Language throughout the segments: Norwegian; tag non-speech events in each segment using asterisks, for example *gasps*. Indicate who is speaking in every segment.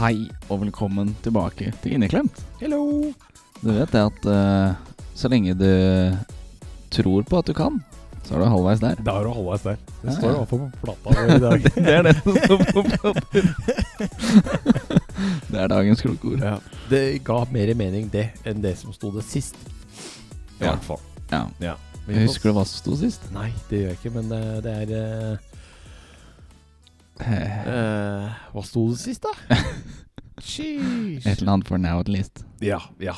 Speaker 1: Hei, og velkommen tilbake til Inneklemt.
Speaker 2: Hello!
Speaker 1: Du vet det at eh, så lenge du tror på at du kan, så er du halvveis der.
Speaker 2: Da er du halvveis der.
Speaker 1: Ja,
Speaker 2: Det står
Speaker 1: ja.
Speaker 2: iallfall på plata vår i dag.
Speaker 1: *laughs* Det er det som står på platen. *laughs* Det er dagens klokeord.
Speaker 2: *laughs* ja. Det ga mer mening, det, enn det som sto det sist. I
Speaker 1: Ja.
Speaker 2: hvert fall.
Speaker 1: Ja.
Speaker 2: Ja.
Speaker 1: Jeg husker du hva som sto sist?
Speaker 2: Nei, det gjør jeg ikke, men eh, det er eh,
Speaker 1: Eh,
Speaker 2: eh, Hva sto det sist, *laughs* da?
Speaker 1: Et
Speaker 2: Sheesh.
Speaker 1: eller annet for now at least.
Speaker 2: Ja. ja.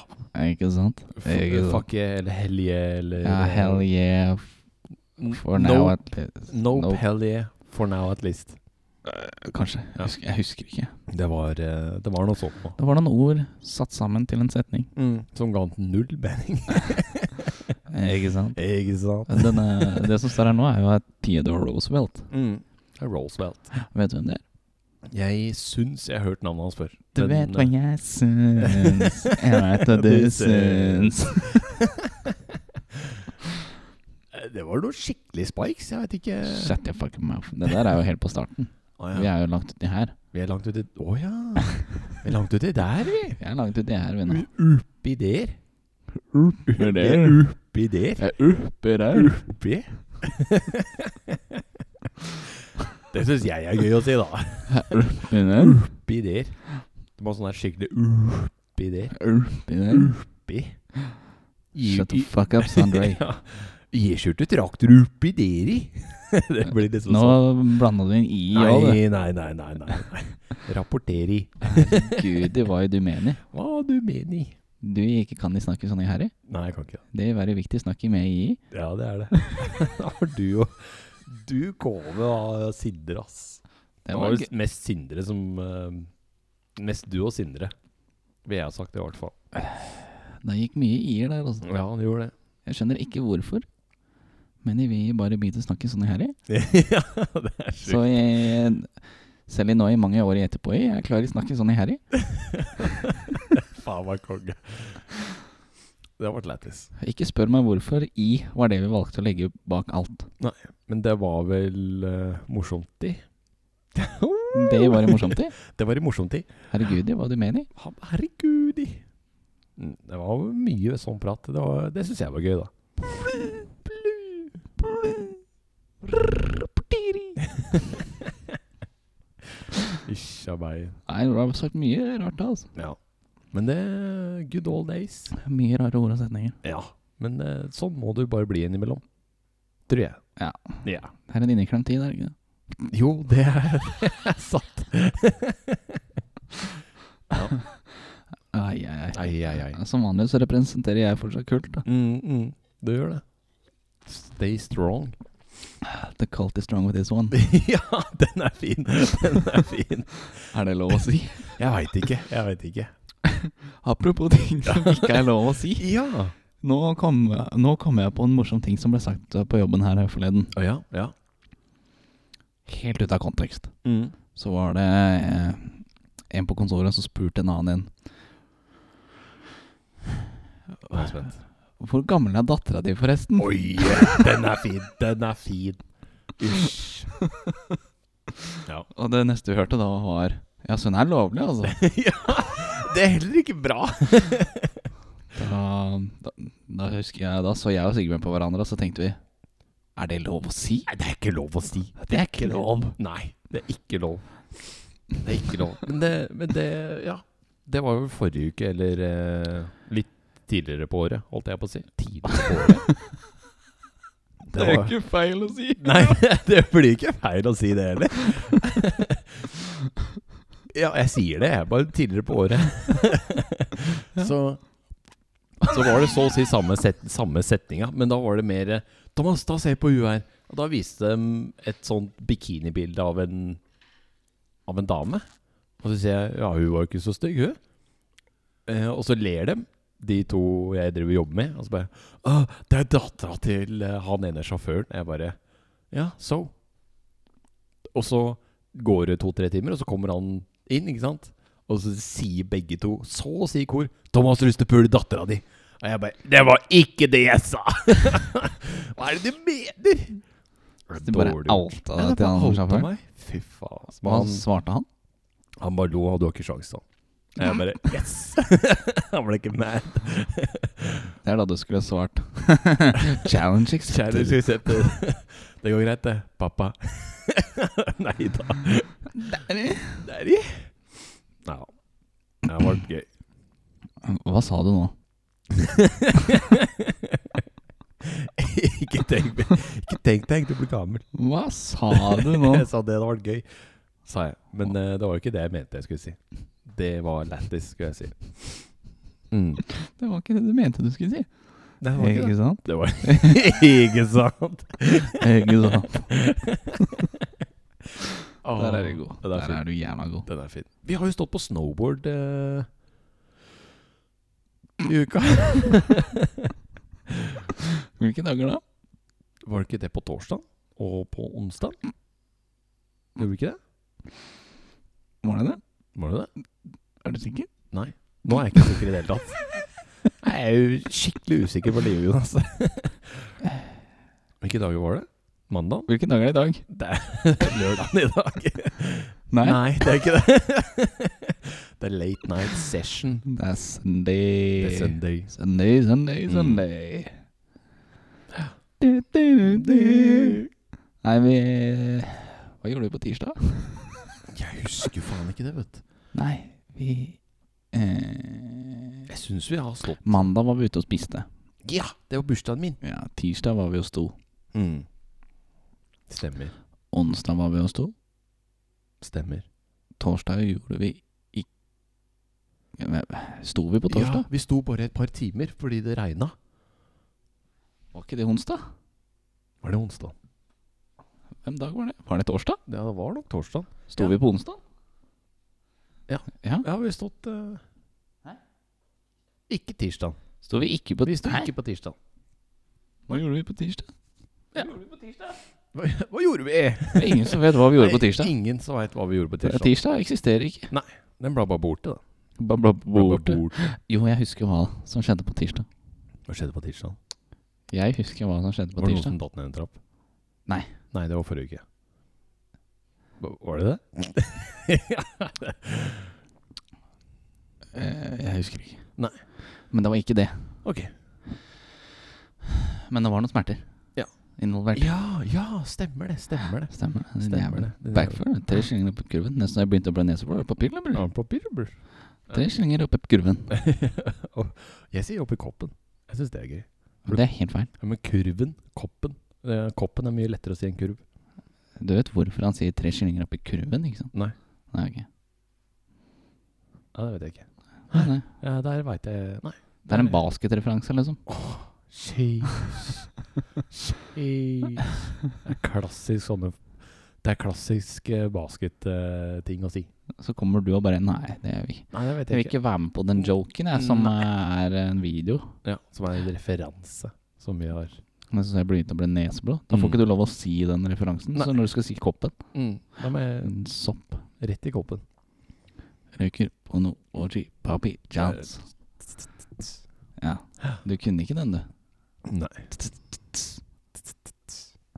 Speaker 1: Ikke sant?
Speaker 2: F-
Speaker 1: Ikke sant.
Speaker 2: Fuck yeah, eller hell yeah, eller
Speaker 1: Ja, hell yeah for
Speaker 2: no,
Speaker 1: now at least.
Speaker 2: Nope,
Speaker 1: Nope.
Speaker 2: hell yeah, for now at least.
Speaker 1: Eh, Kanskje.
Speaker 2: Ja.
Speaker 1: Husker, jeg husker ikke.
Speaker 2: Det var, eh, det var noe sånt nå.
Speaker 1: Det var noen ord satt sammen til en setning.
Speaker 2: Som ga den null mening.
Speaker 1: Eh, Ikke sant?
Speaker 2: *laughs* Ikke sant?
Speaker 1: Denne, det som står her nå, er jo at Theodore Roosevelt.
Speaker 2: Mm. Roosevelt.
Speaker 1: Vet du hvem det er?
Speaker 2: Jeg syns jeg har hørt navnet hans før.
Speaker 1: Du
Speaker 2: Men,
Speaker 1: vet hva
Speaker 2: eh,
Speaker 1: jeg
Speaker 2: *laughs*
Speaker 1: syns, jeg vet hva *laughs* du
Speaker 2: Du
Speaker 1: syns.
Speaker 2: *laughs* Det var noe skikkelig spikes, jeg vet ikke
Speaker 1: Shut your fucking mouth. Det der er jo helt på starten.
Speaker 2: Å,
Speaker 1: Vi
Speaker 2: ja.
Speaker 1: er jo langt uti her.
Speaker 2: Vi er langt uti Å ja! Vi er langt uti der, vi.
Speaker 1: Vi er langt uti her, vi nå.
Speaker 2: U- Oppi der.
Speaker 1: Oppi
Speaker 2: Vi er Oppi
Speaker 1: Jeg
Speaker 2: der.
Speaker 1: er oppi der.
Speaker 2: Oppi. *laughs* Det syns jeg er gøy å si, da.
Speaker 1: Oppi der.
Speaker 2: Oppi der. Det var sånn der skikkelig oppi der.
Speaker 1: Oppi der.
Speaker 2: Oppi.
Speaker 1: Shut the fuck up, Sandray.
Speaker 2: *laughs* Ja. Jeg kjørte traktor oppi der i. *laughs* Det blir liksom
Speaker 1: Nå
Speaker 2: sånn.
Speaker 1: blanda du inn i og det.
Speaker 2: Nei, nei, nei, nei, nei. nei. Rapporter i.
Speaker 1: Gud, det var jo du mener.
Speaker 2: Hva du mener?
Speaker 1: Du ikke kan de snakke sånn i herre.
Speaker 2: Nei, jeg kan ikke det.
Speaker 1: Det vil være viktig å snakke med i.
Speaker 2: Ja, det er det. *laughs* Da var du jo Du kommer av Sindre, ass.
Speaker 1: Det var gøy.
Speaker 2: jo mest Sindre som eh, Mest du og Sindre, vil jeg ha sagt i hvert fall.
Speaker 1: Det gikk mye i-er der, altså.
Speaker 2: Ja, han gjorde det.
Speaker 1: Jeg skjønner ikke hvorfor. Men de vil bare bite å snakke sånn i herre.
Speaker 2: *laughs* ja, det er sjukt.
Speaker 1: Så jeg, selv i nå i mange år i etterpå, jeg er klar i å snakke sånn i herre.
Speaker 2: *laughs* Faen meg konge. Det ble lættis.
Speaker 1: Ikke spør meg hvorfor i var det vi valgte å legge bak alt.
Speaker 2: Men det var vel eh, morsomt i?
Speaker 1: *laughs* Det var det morsomt i.
Speaker 2: *laughs* Det var i morsomt i.
Speaker 1: Herregud, det var du mener.
Speaker 2: Ha- Herregud i. Mm, Det var jo mye sånn prat. Det, var- det syns jeg var
Speaker 1: *laughs*
Speaker 2: gøy, da. Ish a meg.
Speaker 1: Nei, du har sagt mye rart da, altså.
Speaker 2: Ja. Men det er good old days.
Speaker 1: Mye rare ord og setninger.
Speaker 2: Ja. Men eh, sånn må du bare bli innimellom. Tror jeg.
Speaker 1: Ja. Det er en inneklemt tid, er det ikke det?
Speaker 2: Jo, det er, *laughs* det er sant.
Speaker 1: Ai, ai, ai.
Speaker 2: Ai, ai, ai.
Speaker 1: Som vanlig så representerer jeg fortsatt kult, da.
Speaker 2: Mm, mm. Du gjør det. Stay strong.
Speaker 1: The cult is strong with this one.
Speaker 2: *laughs* ja, den er fin. Den er fin.
Speaker 1: *laughs* Er det lov å si?
Speaker 2: Jeg veit ikke. Jeg veit ikke.
Speaker 1: *laughs* Apropos *laughs* ting som ikke er lov å si.
Speaker 2: Ja.
Speaker 1: Nå kom, nå kom jeg på en morsom ting som ble sagt på jobben her forleden.
Speaker 2: Å ja. Ja.
Speaker 1: Helt ut av kontekst.
Speaker 2: Mm.
Speaker 1: Så var det eh, en på kontoret som spurte en annen
Speaker 2: Nå er jeg spent.
Speaker 1: en Hvor gammel er dattera di, forresten?
Speaker 2: *laughs* Oi, den er fin, den er fin. *laughs* Usch. Ja.
Speaker 1: Og det neste vi hørte da, var Ja, så hun er lovlig, altså.
Speaker 2: Det er heller ikke bra.
Speaker 1: Da, da, da husker jeg Da så jeg og Sigbjørn på hverandre, og så tenkte vi Er det lov å si?
Speaker 2: Nei, det er ikke lov å si.
Speaker 1: Det er ikke
Speaker 2: Nei, det er ikke lov. Det er ikke lov. Men det, men det ja. Det var jo forrige uke, eller eh, litt tidligere på året, holdt jeg på å si. Tidligere på året.
Speaker 1: *laughs* Det er ikke feil å si.
Speaker 2: Nei, *laughs* det blir ikke feil å si det heller. Ja, jeg sier det, jeg. Bare tidligere på året. Så, så var det så å si samme, set, samme setninga, men da var det mer eh, Thomas, da ser jeg på henne her. Og da viste de et sånt bikinibilde av en Av en dame. Og så sier jeg ja, hun var jo ikke så stygg, hun. Eh, og så ler de, de to jeg driver og jobber med. Og så bare Å, det er dattera til eh, han ene sjåføren. Jeg bare ja, so. Og så går det to-tre timer, og så kommer han inn, ikke sant? Og så sier begge to, så å si i kor, 'Thomas Rustepul, dattera di'. Og jeg bare 'Det var ikke det jeg sa'! *laughs* Hva er det du mener?
Speaker 1: Det bare outa deg til han sjåføren.
Speaker 2: Fy faen. altså.
Speaker 1: Hva
Speaker 2: Men han,
Speaker 1: svarte han?
Speaker 2: Han bare lo, og du har ikke sjans, sa han. Jeg bare Yes! *laughs* han ble ikke mad.
Speaker 1: Det er da du skulle svart. *laughs* Challenge
Speaker 2: Kjære
Speaker 1: accepted.
Speaker 2: suksessenter. *laughs* Det går greit, det. Pappa. *laughs* Nei da. Det er de. Ja. Det har vært gøy.
Speaker 1: Hva sa du nå?
Speaker 2: *laughs* ikke tenk ikke tenk deg til å bli gammel.
Speaker 1: Hva sa du nå?
Speaker 2: *laughs* Jeg sa det hadde vært gøy, sa jeg. Men eh, det var jo ikke det jeg mente jeg skulle si. Det var lættis, skulle jeg si. Mm.
Speaker 1: *laughs* Det var ikke det du mente du skulle si.
Speaker 2: Det var ikke det.
Speaker 1: Ikke sant?
Speaker 2: Det var *laughs* ikke sant.
Speaker 1: Ikke *laughs* sant?
Speaker 2: Åh,
Speaker 1: Der er du god.
Speaker 2: Den er
Speaker 1: Der
Speaker 2: fin.
Speaker 1: er du jævla god.
Speaker 2: Den er fin. Vi har jo stått på snowboard eh, i *laughs* uka.
Speaker 1: Hvilke dager da?
Speaker 2: Var det ikke det på torsdag og på onsdag? Gjorde vi ikke det?
Speaker 1: Var det det?
Speaker 2: Var det det?
Speaker 1: Er du sikker?
Speaker 2: Nei. Nå er jeg ikke sikker i det hele tatt. *laughs* Jeg er jo skikkelig usikker på livet, Jonas. *laughs* Hvilke dager var det? Mandag?
Speaker 1: Hvilke dager er det i dag?
Speaker 2: Det er *laughs* lørdagen i dag.
Speaker 1: Nei.
Speaker 2: det *laughs* er ikke det. Det er late night session.
Speaker 1: Det er
Speaker 2: Det
Speaker 1: Sunday.
Speaker 2: er Sunday.
Speaker 1: Sunday, Sunday,
Speaker 2: Mm.
Speaker 1: Sunday. Du, du, du, du. Nei, vi Hva gjorde vi på tirsdag?
Speaker 2: Jeg husker faen ikke det, vet du.
Speaker 1: Nei, vi eh,
Speaker 2: Jeg syns vi har stått
Speaker 1: Mandag var vi ute og spiste.
Speaker 2: Ja, det var bursdagen min.
Speaker 1: Ja, Tirsdag var vi og sto.
Speaker 2: Mm. Stemmer.
Speaker 1: Onsdag var vi og sto.
Speaker 2: Stemmer.
Speaker 1: Torsdag gjorde vi ikke Sto vi på torsdag?
Speaker 2: Ja, vi sto bare et par timer fordi det regna.
Speaker 1: Var ikke det onsdag?
Speaker 2: Var det onsdag?
Speaker 1: Hvem dag var det? Var det torsdag?
Speaker 2: Ja, det var nok torsdag.
Speaker 1: Sto
Speaker 2: Ja.
Speaker 1: vi på onsdag?
Speaker 2: Ja.
Speaker 1: ja.
Speaker 2: Ja, vi har stått eh,
Speaker 1: Hæ?
Speaker 2: Ikke tirsdag.
Speaker 1: Sto vi ikke på
Speaker 2: Vi sto
Speaker 1: Nei,
Speaker 2: ikke på tirsdag.
Speaker 1: Hva gjorde vi på tirsdag?
Speaker 2: Hva, hva gjorde vi?
Speaker 1: Det er ingen som vet hva vi gjorde på tirsdag.
Speaker 2: Ingen som veit hva vi gjorde på tirsdag.
Speaker 1: Tirsdag eksisterer ikke.
Speaker 2: Den ble bare borte, da.
Speaker 1: Bla, bla,
Speaker 2: Ble bare
Speaker 1: borte. Jo, jeg husker hva som skjedde på tirsdag.
Speaker 2: Hva skjedde på tirsdag?
Speaker 1: Jeg husker hva som skjedde på
Speaker 2: Var det noen
Speaker 1: tirsdag.
Speaker 2: som datt ned en trapp?
Speaker 1: Nei.
Speaker 2: Nei, det var forrige uke. Hva- Var det det?
Speaker 1: Eh, Jeg husker ikke.
Speaker 2: Nei.
Speaker 1: Men det var ikke det.
Speaker 2: Ok.
Speaker 1: Men det var noen smerter
Speaker 2: Ja.
Speaker 1: involvert.
Speaker 2: Ja, ja, stemmer det. Stemmer det.
Speaker 1: Stemmer det. Din
Speaker 2: Stemmer
Speaker 1: jævel.
Speaker 2: det. Din
Speaker 1: Backfør. Tre skillinger opp i kurven. Nesten så jeg begynte å bli nesebor. På pilla, bror.
Speaker 2: Ja, på Bilderberg.
Speaker 1: Tre skillinger opp i kurven.
Speaker 2: *laughs* Og jeg sier oppi koppen. Jeg syns det er gøy.
Speaker 1: Og Det er helt feil.
Speaker 2: Ja, men kurven, koppen eh, Koppen er mye lettere å si enn kurv.
Speaker 1: Du vet hvorfor han sier tre skillinger opp i kurven, ikke sant?
Speaker 2: Nei.
Speaker 1: Nei, ok.
Speaker 2: Ja, det vet jeg ikke.
Speaker 1: Nei, nei.
Speaker 2: Ja, der veit jeg Nei.
Speaker 1: Det er en basketreferanse, liksom.
Speaker 2: Jeez. Jeez. Det er klassisk sånne Det er klassisk eh, basketting å si.
Speaker 1: Så kommer du og bare Nei, det er vi ikke. Jeg
Speaker 2: Nei, det vet
Speaker 1: vil
Speaker 2: jeg ikke.
Speaker 1: ikke være med på den joken jeg, som
Speaker 2: Nei.
Speaker 1: eh, er en video.
Speaker 2: Ja, som er en referanse som vi har.
Speaker 1: Men så jeg begynte å bli neseblå. Da får
Speaker 2: Mm.
Speaker 1: ikke du lov å si den referansen.
Speaker 2: Nei.
Speaker 1: Så når du skal si koppen
Speaker 2: Da må jeg
Speaker 1: En sopp
Speaker 2: rett i koppen.
Speaker 1: røyker på noe orgy, papi, jans. Ja. Du kunne ikke den, du.
Speaker 2: Nei.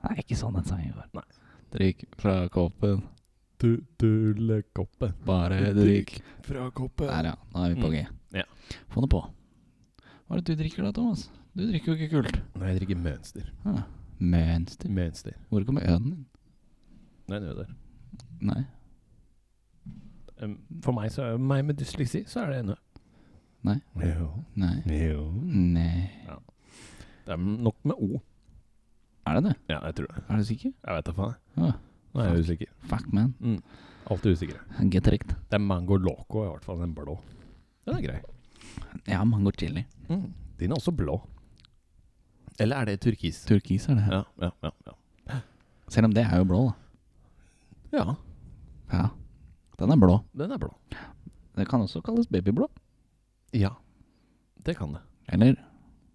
Speaker 1: Nei, ikke sånn den sangen var.
Speaker 2: Nei.
Speaker 1: Drikk fra koppen,
Speaker 2: Du dullekoppen.
Speaker 1: bare drikk.
Speaker 2: Fra koppen.
Speaker 1: Der, ja. Nå er vi på G.
Speaker 2: Mm. Ja.
Speaker 1: Få det på. Hva er det du drikker da, Thomas? Du drikker jo ikke kult.
Speaker 2: Nei, jeg drikker mønster.
Speaker 1: Ah, Mønster.
Speaker 2: Mønster.
Speaker 1: Hvor kommer øden din?
Speaker 2: Nei, det er det.
Speaker 1: Nei.
Speaker 2: Um, For meg, så, meg med dysleksi, så er det ennå.
Speaker 1: Nei.
Speaker 2: Jo.
Speaker 1: Nei.
Speaker 2: jo.
Speaker 1: Nei.
Speaker 2: Det er nok med O.
Speaker 1: Er det det?
Speaker 2: Ja, jeg tror det.
Speaker 1: Er du sikker?
Speaker 2: Jeg vet da faen.
Speaker 1: Ja.
Speaker 2: Nå er jeg usikker.
Speaker 1: Fuck, man.
Speaker 2: Mm. Alltid usikker.
Speaker 1: Get rikt.
Speaker 2: Det er mango loco, i hvert fall den blå. Den er grei. Mm.
Speaker 1: Jeg har mango chili.
Speaker 2: Din er også blå. Eller er det turkis?
Speaker 1: Turkis er det.
Speaker 2: Ja, ja, ja. Ja.
Speaker 1: Selv om det er jo blå, da.
Speaker 2: ja
Speaker 1: Ja. Den er blå.
Speaker 2: den er blå.
Speaker 1: Det kan også kalles babyblå.
Speaker 2: Ja. Det kan det.
Speaker 1: Eller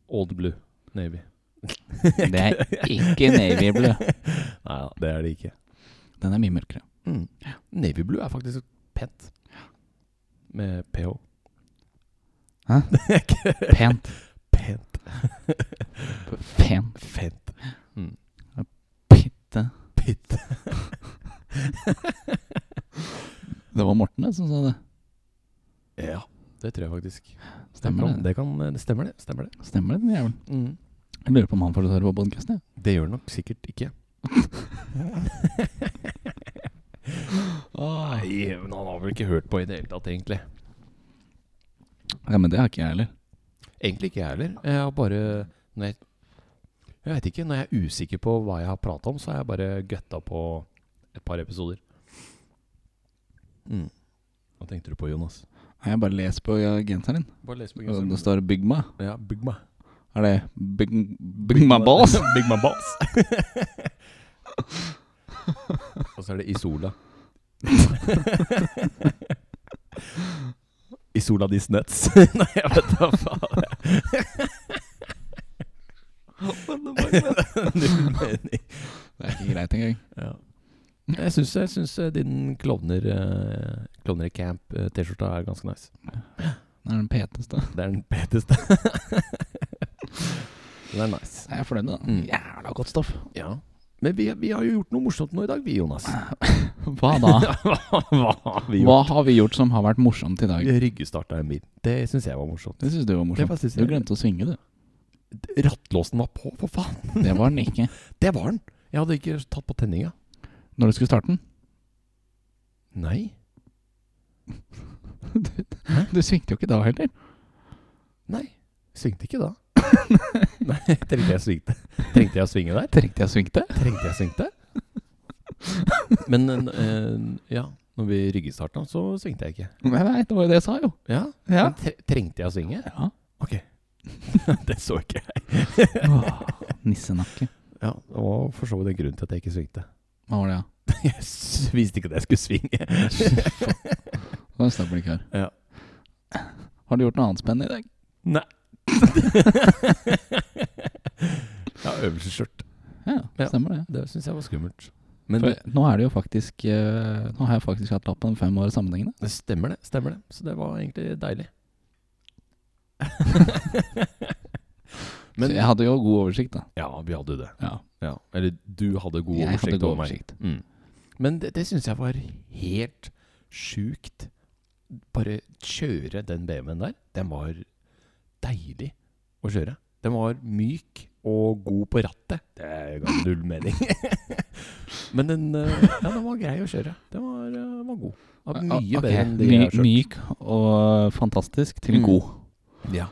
Speaker 2: Old blue. Navy.
Speaker 1: Det
Speaker 2: *laughs*
Speaker 1: er ikke navy blue.
Speaker 2: Nei da, det er det ikke.
Speaker 1: Den er mye mørkere.
Speaker 2: Mm. Navy blue er faktisk pent. Med ph.
Speaker 1: Hæ?
Speaker 2: Det er ikke
Speaker 1: Pent.
Speaker 2: pent.
Speaker 1: Pen.
Speaker 2: Fent. Mm.
Speaker 1: Pitte.
Speaker 2: Pitt.
Speaker 1: Det var Morten det, som sa det.
Speaker 2: Ja, det tror jeg faktisk.
Speaker 1: Stemmer det?
Speaker 2: Det, Mm. kan, det, kan, det stemmer, det. Stemmer det.
Speaker 1: Stemmer det, den jævelen? Jeg lurer på om han får høre på podkasten. Ja.
Speaker 2: Det gjør det nok sikkert ikke. Nei, men han har vel ikke hørt på i det hele tatt, egentlig.
Speaker 1: ja, men det har ikke jeg heller.
Speaker 2: Egentlig ikke jeg heller. Jeg har bare når jeg, jeg vet ikke. Når jeg er usikker på hva jeg har prata om, så har jeg bare gøtta på et par episoder. Mm. Hva tenkte du på, Jonas?
Speaker 1: Nei, Jeg bare leser på ja, genseren din.
Speaker 2: Bare les på
Speaker 1: Og Det står 'Bygma'.
Speaker 2: Ja, Bygma.
Speaker 1: Er det Bygma *laughs* Bygma Balls?
Speaker 2: Big Man Balls. Og så er det Isola. *laughs* Isola Dis *laughs* Nuts. Nei, jeg vet da faen. *laughs* Null mening.
Speaker 1: Det er ikke greit engang.
Speaker 2: Ja. Jeg syns, jeg syns eh, din klovner, eh, klovner i camp-T-skjorta er ganske nice.
Speaker 1: Det er den peteste.
Speaker 2: Det er den peteste. *laughs* Den er nice.
Speaker 1: Jeg er fornøyd med det.
Speaker 2: Mm.
Speaker 1: Jævla godt stoff.
Speaker 2: Ja. Men vi, vi har jo gjort noe morsomt nå i dag, vi, Jonas.
Speaker 1: Mm. *laughs* Hva da?
Speaker 2: *laughs* Hva har vi
Speaker 1: Hva har vi gjort som har vært morsomt i dag?
Speaker 2: Ryggestarta en bil. Det syns jeg var morsomt.
Speaker 1: Det syns du var morsomt.
Speaker 2: Det var-
Speaker 1: Du glemte å svinge, du.
Speaker 2: Rattlåsen var på, for faen!
Speaker 1: Det var den ikke.
Speaker 2: Det var den! Jeg hadde ikke tatt på tenninga.
Speaker 1: Når du skulle starte den
Speaker 2: Nei.
Speaker 1: *laughs* Du svingte jo ikke da heller.
Speaker 2: Nei. Svingte ikke da. *laughs* Nei, trengte jeg svingte. Trengte jeg å svinge der?
Speaker 1: Trengte jeg å svingte?
Speaker 2: Trengte jeg *laughs* svingte? Men eh, ja, når vi ryggestarta, så svingte jeg ikke.
Speaker 1: Nei, nei, det var jo det jeg sa, jo.
Speaker 2: Ja?
Speaker 1: Ja.
Speaker 2: Men tre trengte jeg å svinge?
Speaker 1: ja.
Speaker 2: Ok. *laughs* det så ikke jeg.
Speaker 1: Åh, nissenakke.
Speaker 2: Ja, det var for så vidt en grunn til at jeg ikke svingte.
Speaker 1: Hva var det, da?
Speaker 2: *laughs* Jeg s- visste ikke at jeg skulle svinge.
Speaker 1: Det var en stabelkar.
Speaker 2: Ja.
Speaker 1: Har du gjort noe annet spennende i dag?
Speaker 2: Nei. *laughs* ja, øvelsesskjørt.
Speaker 1: Ja,
Speaker 2: Ja.
Speaker 1: stemmer det.
Speaker 2: Det syns jeg var skummelt. Men
Speaker 1: For nå er det jo faktisk eh, Nå har jeg faktisk hatt lappen fem år sammenhengende.
Speaker 2: det stemmer, det. Stemmer det. Så det var
Speaker 1: *laughs*
Speaker 2: egentlig deilig. Men
Speaker 1: så jeg hadde jo god oversikt, da.
Speaker 2: Ja, vi hadde det.
Speaker 1: Ja,
Speaker 2: Ja. Eller du hadde god
Speaker 1: jeg
Speaker 2: oversikt
Speaker 1: hadde god
Speaker 2: over meg.
Speaker 1: oversikt.
Speaker 2: Mm. Men det, det syns jeg var helt sjukt. Bare kjøre den BMW-en der. Den var deilig å kjøre. Den var myk og god på rattet. Det er jo null mening. *laughs* Men den, eh, ja, den var grei å kjøre. Den var, eh, den var god. Den var mye
Speaker 1: Ok,
Speaker 2: bedre enn de
Speaker 1: my,
Speaker 2: jeg har kjørt.
Speaker 1: Myk og fantastisk til
Speaker 2: Mm.
Speaker 1: god.
Speaker 2: Ja.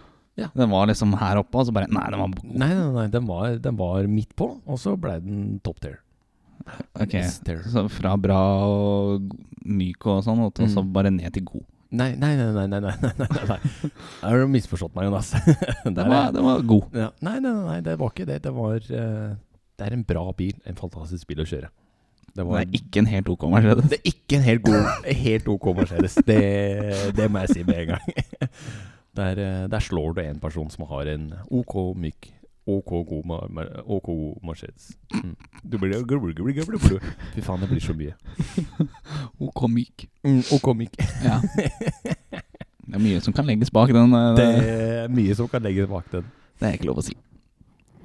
Speaker 1: Den var liksom her oppe, og så bare Nei, den var god.
Speaker 2: Nei, nei, nei den, var, den var midt på, og så ble den top tier.
Speaker 1: Ok,
Speaker 2: S-tier.
Speaker 1: Så fra bra og myk og sånn, og til- og så
Speaker 2: Mm.
Speaker 1: bare ned til god.
Speaker 2: Nei, nei, nei, nei, nei, nei, nei, nei, nei. Da har du misforstått meg, Jonas. *laughs* Der
Speaker 1: Den
Speaker 2: er
Speaker 1: var, den var god.
Speaker 2: Ja. Nei, nei, nei, nei, det var ikke det. Det var eh, Det er en bra bil. En fantastisk bil å kjøre. Det,
Speaker 1: Det
Speaker 2: var,
Speaker 1: er ikke en helt OK Mercedes.
Speaker 2: det er ikke en helt, god, helt ok Mercedes. Det, det må jeg si med en gang. *laughs* Der, eh, der slår du en person som har en OK myk OK god, ma- ma- OK god Mercedes. Mm. Du blir gublu, gublu, gublu, gublu. Fy faen, det blir så mye.
Speaker 1: OK myk.
Speaker 2: Mm, OK myk.
Speaker 1: *laughs* Ja. Det er mye som kan legges bak den. eh,
Speaker 2: *laughs* Det er mye som kan legges bak den.
Speaker 1: det er ikke lov å si.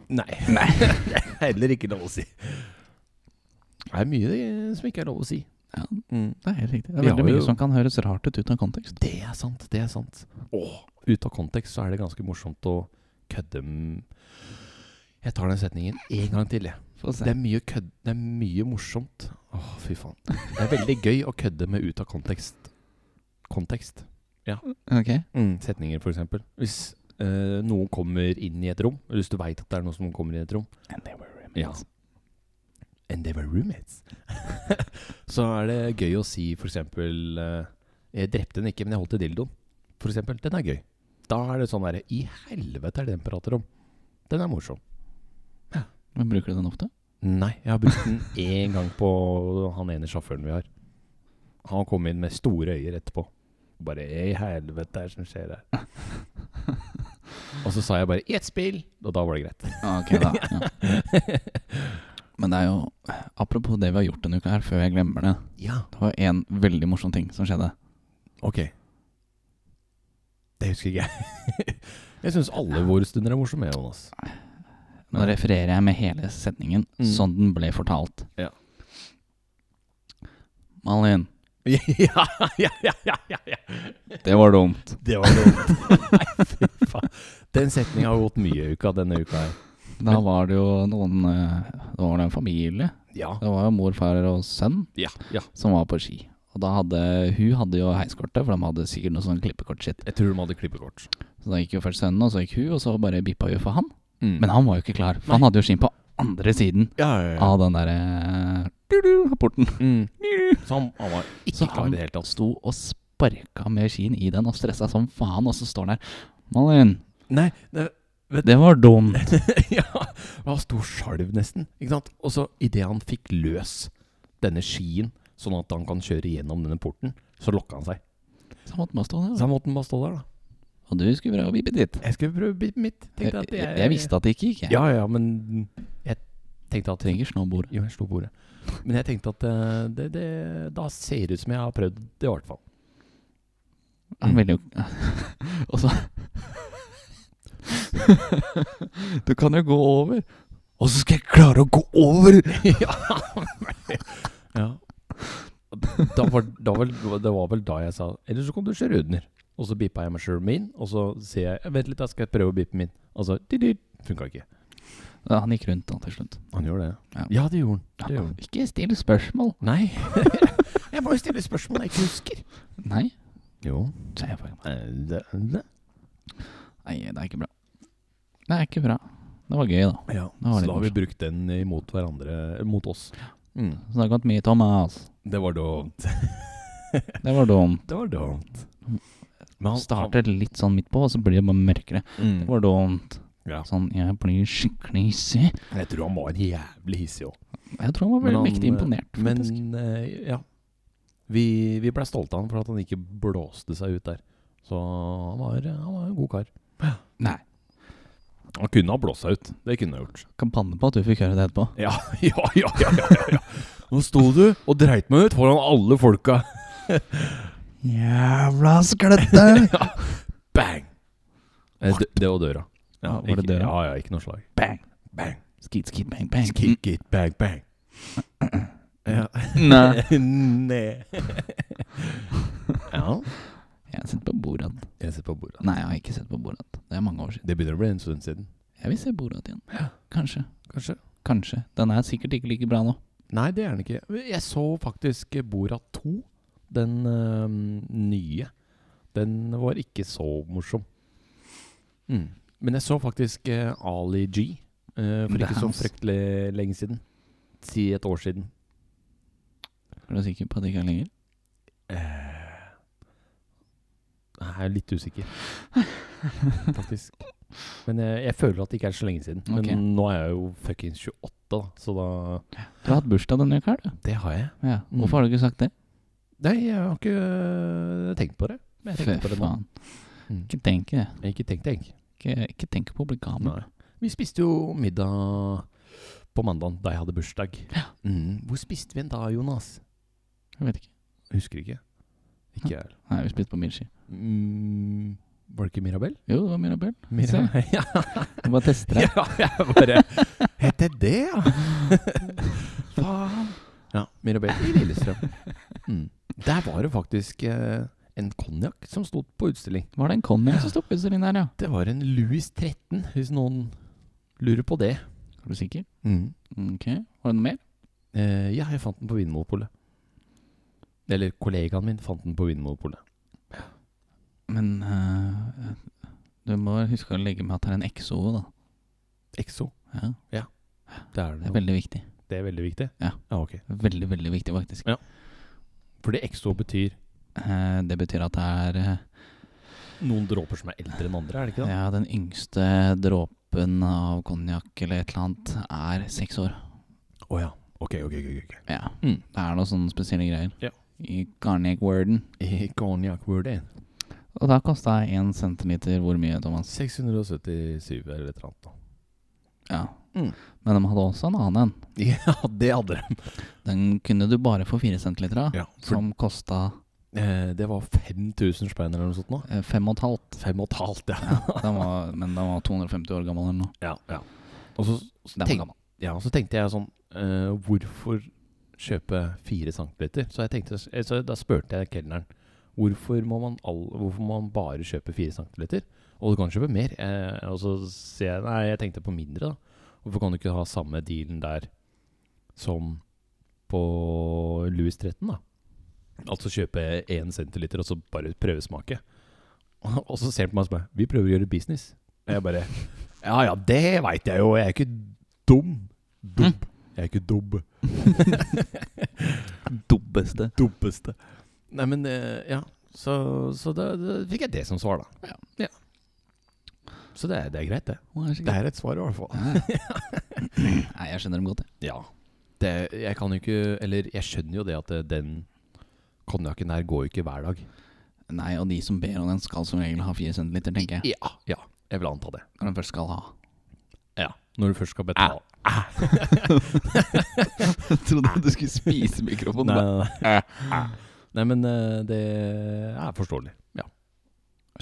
Speaker 2: Nei. *laughs* det er heller ikke lov å si. Det er mye eh, som ikke er lov å si.
Speaker 1: Ja.
Speaker 2: Mm.
Speaker 1: Det er helt riktig. Det
Speaker 2: Vi
Speaker 1: er veldig
Speaker 2: har
Speaker 1: mye
Speaker 2: jo-
Speaker 1: som kan høres rart ut uten kontekst.
Speaker 2: Det er sant, det er sant. Åh, ut av kontekst så er det ganske morsomt å kødde m- Jeg tar den setningen en gang til, jeg.
Speaker 1: Få se.
Speaker 2: Det er mye kødd... Det er mye morsomt. Åh, fy faen. Det er veldig gøy å kødde med ut av kontekst. Kontekst.
Speaker 1: Ok.
Speaker 2: Setninger, for eksempel. Hvis eh, noen kommer inn i et rom, eller hvis du veit at det er noen som kommer inn i et rom,
Speaker 1: And they were roommates.
Speaker 2: Ja. And they were roommates. *laughs* så er det gøy å si for eksempel eh, Jeg drepte den ikke, men jeg holdt i dildoen. For eksempel. Den er gøy. Da er det sånn derre I helvete er det den prater om. Den er morsom.
Speaker 1: Men bruker du den ofte?
Speaker 2: Nei, jeg har brukt *laughs* den én gang på han ene sjåføren vi har. Han kom inn med store øyer etterpå. Bare I helvete, er det som skjer *laughs* her? Og så sa jeg bare 'i et spill', og da var det greit.
Speaker 1: Ah, Ok, *laughs* da. Ja. Men det er jo Apropos det vi har gjort denne uka her, før jeg glemmer det.
Speaker 2: Ja,
Speaker 1: Det var en veldig morsom ting som skjedde.
Speaker 2: Ok. Det husker ikke jeg. *laughs* jeg syns alle våre stunder er morsomme, Jonas.
Speaker 1: Nå refererer jeg med hele setningen
Speaker 2: Mm.
Speaker 1: sånn den ble fortalt.
Speaker 2: Ja.
Speaker 1: Malin,
Speaker 2: *laughs* ja, ja, ja, ja, ja, ja.
Speaker 1: Det var dumt.
Speaker 2: Det var dumt. *laughs* Nei, fy faen. Den setninga har gått mye i uka denne uka her.
Speaker 1: Da var det jo noen eh, Da var det en familie.
Speaker 2: Ja.
Speaker 1: Det var jo mor, far og sønn
Speaker 2: Ja. ja.
Speaker 1: som var på ski. Og da hadde hun hadde jo heiskortet, for de hadde sikkert noe sånn klippekort-shit.
Speaker 2: Jeg tror de hadde klippekort.
Speaker 1: Så da gikk jo først sønnen, og så gikk hun, og så bare bippa hun for han. Men han var jo ikke klar, for han hadde jo skinn på andre siden
Speaker 2: Mm. ja, ja, ja.
Speaker 1: av den derre du-du, porten.
Speaker 2: Mm. Så han, han var ikke
Speaker 1: Så
Speaker 2: klar i
Speaker 1: han
Speaker 2: det hele tatt.
Speaker 1: sto og sparka med skien i den og stressa som faen, og så står han der. Malin,
Speaker 2: Nei, det, *laughs*
Speaker 1: det var dumt.
Speaker 2: ja, han sto sjalv nesten. Ikke sant? Og så idet han fikk løs denne skien, sånn at han kan kjøre gjennom denne porten, så lokka han seg.
Speaker 1: Så han måtte bare stå
Speaker 2: Så
Speaker 1: der.
Speaker 2: han måtte bare stå der, da.
Speaker 1: Og du skulle prøve å bippe ditt.
Speaker 2: Jeg skulle prøve bit mitt.
Speaker 1: Jeg, jeg, jeg visste at det ikke gikk, jeg.
Speaker 2: Ja, ja, men jeg tenkte at
Speaker 1: Trenger snowboard.
Speaker 2: Jo, jeg slo bordet. Men jeg tenkte at eh, det, det, da ser det ut som jeg har prøvd det, i hvert fall.
Speaker 1: Han
Speaker 2: Mm.
Speaker 1: ville jo *laughs* Og så *laughs* Du kan jo gå over. Og så skal jeg klare å gå
Speaker 2: *laughs*
Speaker 1: over!
Speaker 2: Ja. Da var, da vel, det var vel da jeg sa Eller så kan du kjøre under. Og så bippa jeg meg sjøl min, og så sier jeg «Jeg Vent litt, da skal jeg prøve å bippe Altså, min. Og så funka ikke.
Speaker 1: Ja, Han gikk rundt da til slutt.
Speaker 2: Han gjorde det.
Speaker 1: Ja.
Speaker 2: Ja, det gjorde han. Det
Speaker 1: Ja,
Speaker 2: gjorde han.
Speaker 1: ikke still spørsmål.
Speaker 2: Nei. *laughs* jeg må jo stille spørsmål jeg ikke husker.
Speaker 1: Nei.
Speaker 2: Jo.
Speaker 1: Så jeg bare,
Speaker 2: Eh, Det, det.
Speaker 1: Nei, det er ikke bra. Det er ikke bra. Det var gøy, da.
Speaker 2: Ja.
Speaker 1: var
Speaker 2: Så
Speaker 1: litt
Speaker 2: da har vi brukt den imot hverandre eh, Mot oss. Mm.
Speaker 1: Så det har gått mye Thomas.
Speaker 2: Det var dumt.
Speaker 1: Det var dumt.
Speaker 2: Det var dumt. Men
Speaker 1: Starter litt sånn midt på, og så blir det bare mørkere. Det
Speaker 2: Mm.
Speaker 1: var dumt.
Speaker 2: Ja.
Speaker 1: Sånn, jeg blir skikkelig hissig.
Speaker 2: Jeg tror han var jævlig hissig òg.
Speaker 1: Jeg tror han var
Speaker 2: Men
Speaker 1: veldig
Speaker 2: han,
Speaker 1: mektig imponert,
Speaker 2: Men
Speaker 1: faktisk.
Speaker 2: eh, ja. Vi, vi blei stolte av han for at han ikke blåste seg ut der. Så han var, han var en god kar.
Speaker 1: Nei.
Speaker 2: Han kunne ha blåst seg ut. Det kunne han gjort.
Speaker 1: Kan banne på at du fikk høre det etterpå.
Speaker 2: Ja, *laughs* ja, ja. ja, ja, ja. Nå sto du og dreit meg ut foran alle folka.
Speaker 1: Jævla skløtte!
Speaker 2: Bang! Eh, Det, det var døra.
Speaker 1: Ja, var det
Speaker 2: ikke,
Speaker 1: døra?
Speaker 2: Ja, ja, ikke noe slag.
Speaker 1: *laughs* bang!
Speaker 2: Bang.
Speaker 1: Skit, skit, bang, bang.
Speaker 2: Kick it, bang, bang. Ja. *laughs*
Speaker 1: *laughs* Nei.
Speaker 2: Nei. ja.
Speaker 1: Jeg har sett på Borat.
Speaker 2: Jeg sitter på bordet.
Speaker 1: Nei, jeg har ikke sett på Borat. Det er mange år siden.
Speaker 2: Det begynner å bli en stund siden.
Speaker 1: Jeg vil se Borat igjen. Kanskje.
Speaker 2: Kanskje?
Speaker 1: Kanskje. Den er sikkert ikke like bra nå.
Speaker 2: *gasps* Nei, det er den ikke. Jeg så faktisk Borat 2. Den øhm, nye. Den var ikke så morsom. Mm. Men jeg så faktisk eh, Ali G eh, for
Speaker 1: Det er
Speaker 2: ikke så
Speaker 1: hans.
Speaker 2: fryktelig lenge siden. Si et år siden.
Speaker 1: Er du sikker på at det ikke er lenger?
Speaker 2: Eh, Jeg er litt *laughs* usikker, faktisk. Men jeg, jeg føler at det ikke er så lenge siden. Men
Speaker 1: Ok.
Speaker 2: nå er jeg jo fuckings 28, da, så da
Speaker 1: Du har hatt bursdag denne uka, her, du.
Speaker 2: Det har jeg.
Speaker 1: Ja.
Speaker 2: Mm.
Speaker 1: Hvorfor har du ikke sagt det?
Speaker 2: Nei, jeg har ikke øh, tenkt på det. Men jeg tenkte på det nå.
Speaker 1: faen.
Speaker 2: Mm.
Speaker 1: Ikke tenk det.
Speaker 2: Ikke tenk, tenk.
Speaker 1: Ikke, ikke tenk på å bli gammel.
Speaker 2: Nei. Vi spiste jo middag på mandagen da jeg hadde bursdag. Mm. Hvor spiste vi en da, Jonas?
Speaker 1: Jeg vet ikke.
Speaker 2: Husker ikke. Ikke jeg.
Speaker 1: Nei, vi spiste på Mirchi.
Speaker 2: Mm. Var det ikke Mirabel?
Speaker 1: Jo, det var Mirabel.
Speaker 2: Mirabel. *laughs* Ja,
Speaker 1: Du bare tester *laughs* deg.
Speaker 2: ja, *laughs* jeg bare Het det det, *laughs* ja? Faen. Ja, Mirabel i Lillestrøm. Mm. Der var det faktisk eh, en konjakk som sto på utstilling.
Speaker 1: Var det en konjakk som sto på utstillingen der, ja?
Speaker 2: Det var en Louis 13, hvis noen lurer på det.
Speaker 1: Er du sikker?
Speaker 2: Mm.
Speaker 1: Ok. Var det noe mer?
Speaker 2: Eh, ja, jeg fant den på Vinmonopolet. Eller kollegaen min fant den på Vinmonopolet.
Speaker 1: Men eh, du må huske å legge med at det er en XO, da.
Speaker 2: Exo.
Speaker 1: Ja,
Speaker 2: Det er,
Speaker 1: det
Speaker 2: det,
Speaker 1: er veldig viktig.
Speaker 2: det er veldig viktig?
Speaker 1: Ja.
Speaker 2: ok.
Speaker 1: Veldig, veldig viktig, faktisk.
Speaker 2: Fordi exo betyr
Speaker 1: Eh, det betyr at det er eh,
Speaker 2: noen dråper som er eldre enn andre, er det ikke det?
Speaker 1: ja, den yngste dråpen av konjakk eller et eller annet er seks år.
Speaker 2: Å ja. Ok, ok, ok. ok.
Speaker 1: Ja.
Speaker 2: Mm.
Speaker 1: Det er noen sånne spesielle greier.
Speaker 2: Ja.
Speaker 1: I garniak-warden.
Speaker 2: I Cognac Word 1.
Speaker 1: Og da kosta én centiliter hvor mye, Thomas?
Speaker 2: 677 eller et eller annet. da.
Speaker 1: Ja.
Speaker 2: Mm.
Speaker 1: Men de hadde også en annen en.
Speaker 2: *laughs* Ja, det hadde de.
Speaker 1: Den kunne du bare få fire centiliter av.
Speaker 2: *laughs* Ja, for,
Speaker 1: Som kosta
Speaker 2: eh, det var 5000 spenn eller noe sånt nå.
Speaker 1: eh, fem og et halvt.
Speaker 2: Fem og et halvt, ja.
Speaker 1: Den var, men den var 250 år gammel eller noe.
Speaker 2: ja, ja. *laughs* Og så,
Speaker 1: Den var
Speaker 2: Tenk-
Speaker 1: gammel.
Speaker 2: ja, så tenkte jeg sånn eh, Hvorfor kjøpe fire centiliter. Så, jeg tenkte, eh, så da spurte jeg kelneren hvorfor må man, all, hvorfor må man bare kjøpe fire centiliter. Og du kan kjøpe mer. Eh, og så sier jeg nei, jeg tenkte på mindre. da. Hvorfor kan du ikke ha samme dealen der som på Louis 13? da? Altså kjøpe én centiliter og så bare prøvesmake. *laughs* Og så ser han på meg og spør Vi prøver å gjøre business. Og jeg bare Ja ja, det veit jeg jo. Jeg er ikke dum. Dubb. Jeg er ikke dubb.
Speaker 1: Dubbeste.
Speaker 2: Dubbeste. Nei, men eh, Ja. Så, så da, da fikk jeg det som svar, da. Ja. Så det er, det er greit, det.
Speaker 1: Å, det er så gøy.
Speaker 2: er et svar, i hvert fall. *laughs*
Speaker 1: Nei, jeg skjønner dem godt, jeg.
Speaker 2: Ja. Det, jeg kan jo ikke Eller jeg skjønner jo det at eh, den konjakken der går jo ikke hver dag.
Speaker 1: Nei, og de som ber om den, skal som regel ha 4 cm, tenker jeg.
Speaker 2: Ja. ja. Jeg vil anta det.
Speaker 1: Når den først skal
Speaker 2: *laughs*
Speaker 1: ha.
Speaker 2: Ja. Når du først
Speaker 1: Ah,
Speaker 2: skal betale.
Speaker 1: Jeg trodde du skulle spise mikrofonen.
Speaker 2: nei, nei, nei.
Speaker 1: Ah,
Speaker 2: nei, men eh, det er forståelig. Ja,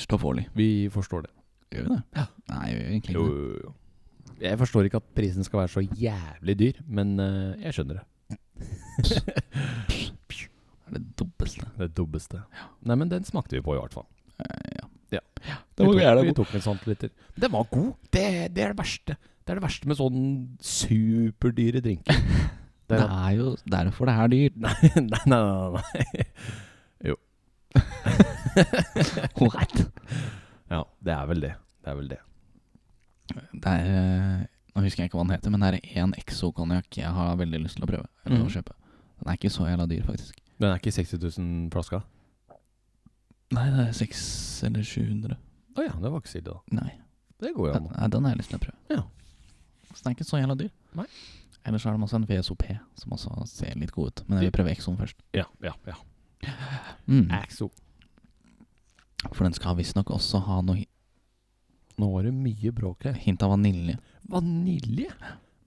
Speaker 1: Stoffårlig.
Speaker 2: vi forstår det.
Speaker 1: Gjør vi det? Nei, vi gjør egentlig
Speaker 2: Jo,
Speaker 1: ikke det.
Speaker 2: jo, jo. Jeg forstår ikke at prisen skal være så jævlig dyr, men eh, jeg skjønner det.
Speaker 1: Det er det dubbeste.
Speaker 2: Det dubbeste. Nei, men den smakte vi på, i hvert fall.
Speaker 1: Eh,
Speaker 2: Ja.
Speaker 1: Den var
Speaker 2: vi,
Speaker 1: jævla
Speaker 2: tok, vi
Speaker 1: god.
Speaker 2: tok en centiliter. Den var god! Det, det er det verste. Det er det verste med sånn superdyre
Speaker 1: *laughs*
Speaker 2: drinker. Det
Speaker 1: Det
Speaker 2: er at-
Speaker 1: er jo derfor det er dyrt.
Speaker 2: *laughs* Nei, nei, nei. nei, nei.
Speaker 1: *laughs* What?
Speaker 2: Ja, det er vel det. Det er vel det.
Speaker 1: Det er eh, Nå husker jeg ikke hva den heter, men det er én exo-konjakk jeg har veldig lyst til å prøve. Eller
Speaker 2: Mhm.
Speaker 1: å kjøpe. Den er ikke så jævla dyr, faktisk.
Speaker 2: Den er ikke 60 000 flaska?
Speaker 1: Nei, det er 6 eller 700.
Speaker 2: Å ja, det var ikke så ille, da.
Speaker 1: Nei,
Speaker 2: Det går jo
Speaker 1: den,
Speaker 2: an.
Speaker 1: nei, den har jeg lyst til å prøve.
Speaker 2: Ja.
Speaker 1: Så den er ikke så jævla dyr.
Speaker 2: Nei.
Speaker 1: Ellers har de også en VSOP, som også ser litt god ut. Men jeg vil prøve exoen først.
Speaker 2: Ja, ja, ja.
Speaker 1: Mm.
Speaker 2: Axo.
Speaker 1: For den skal visstnok også ha noe hi-
Speaker 2: Nå var det mye bråk her.
Speaker 1: hint av vanilje.
Speaker 2: Vanilje?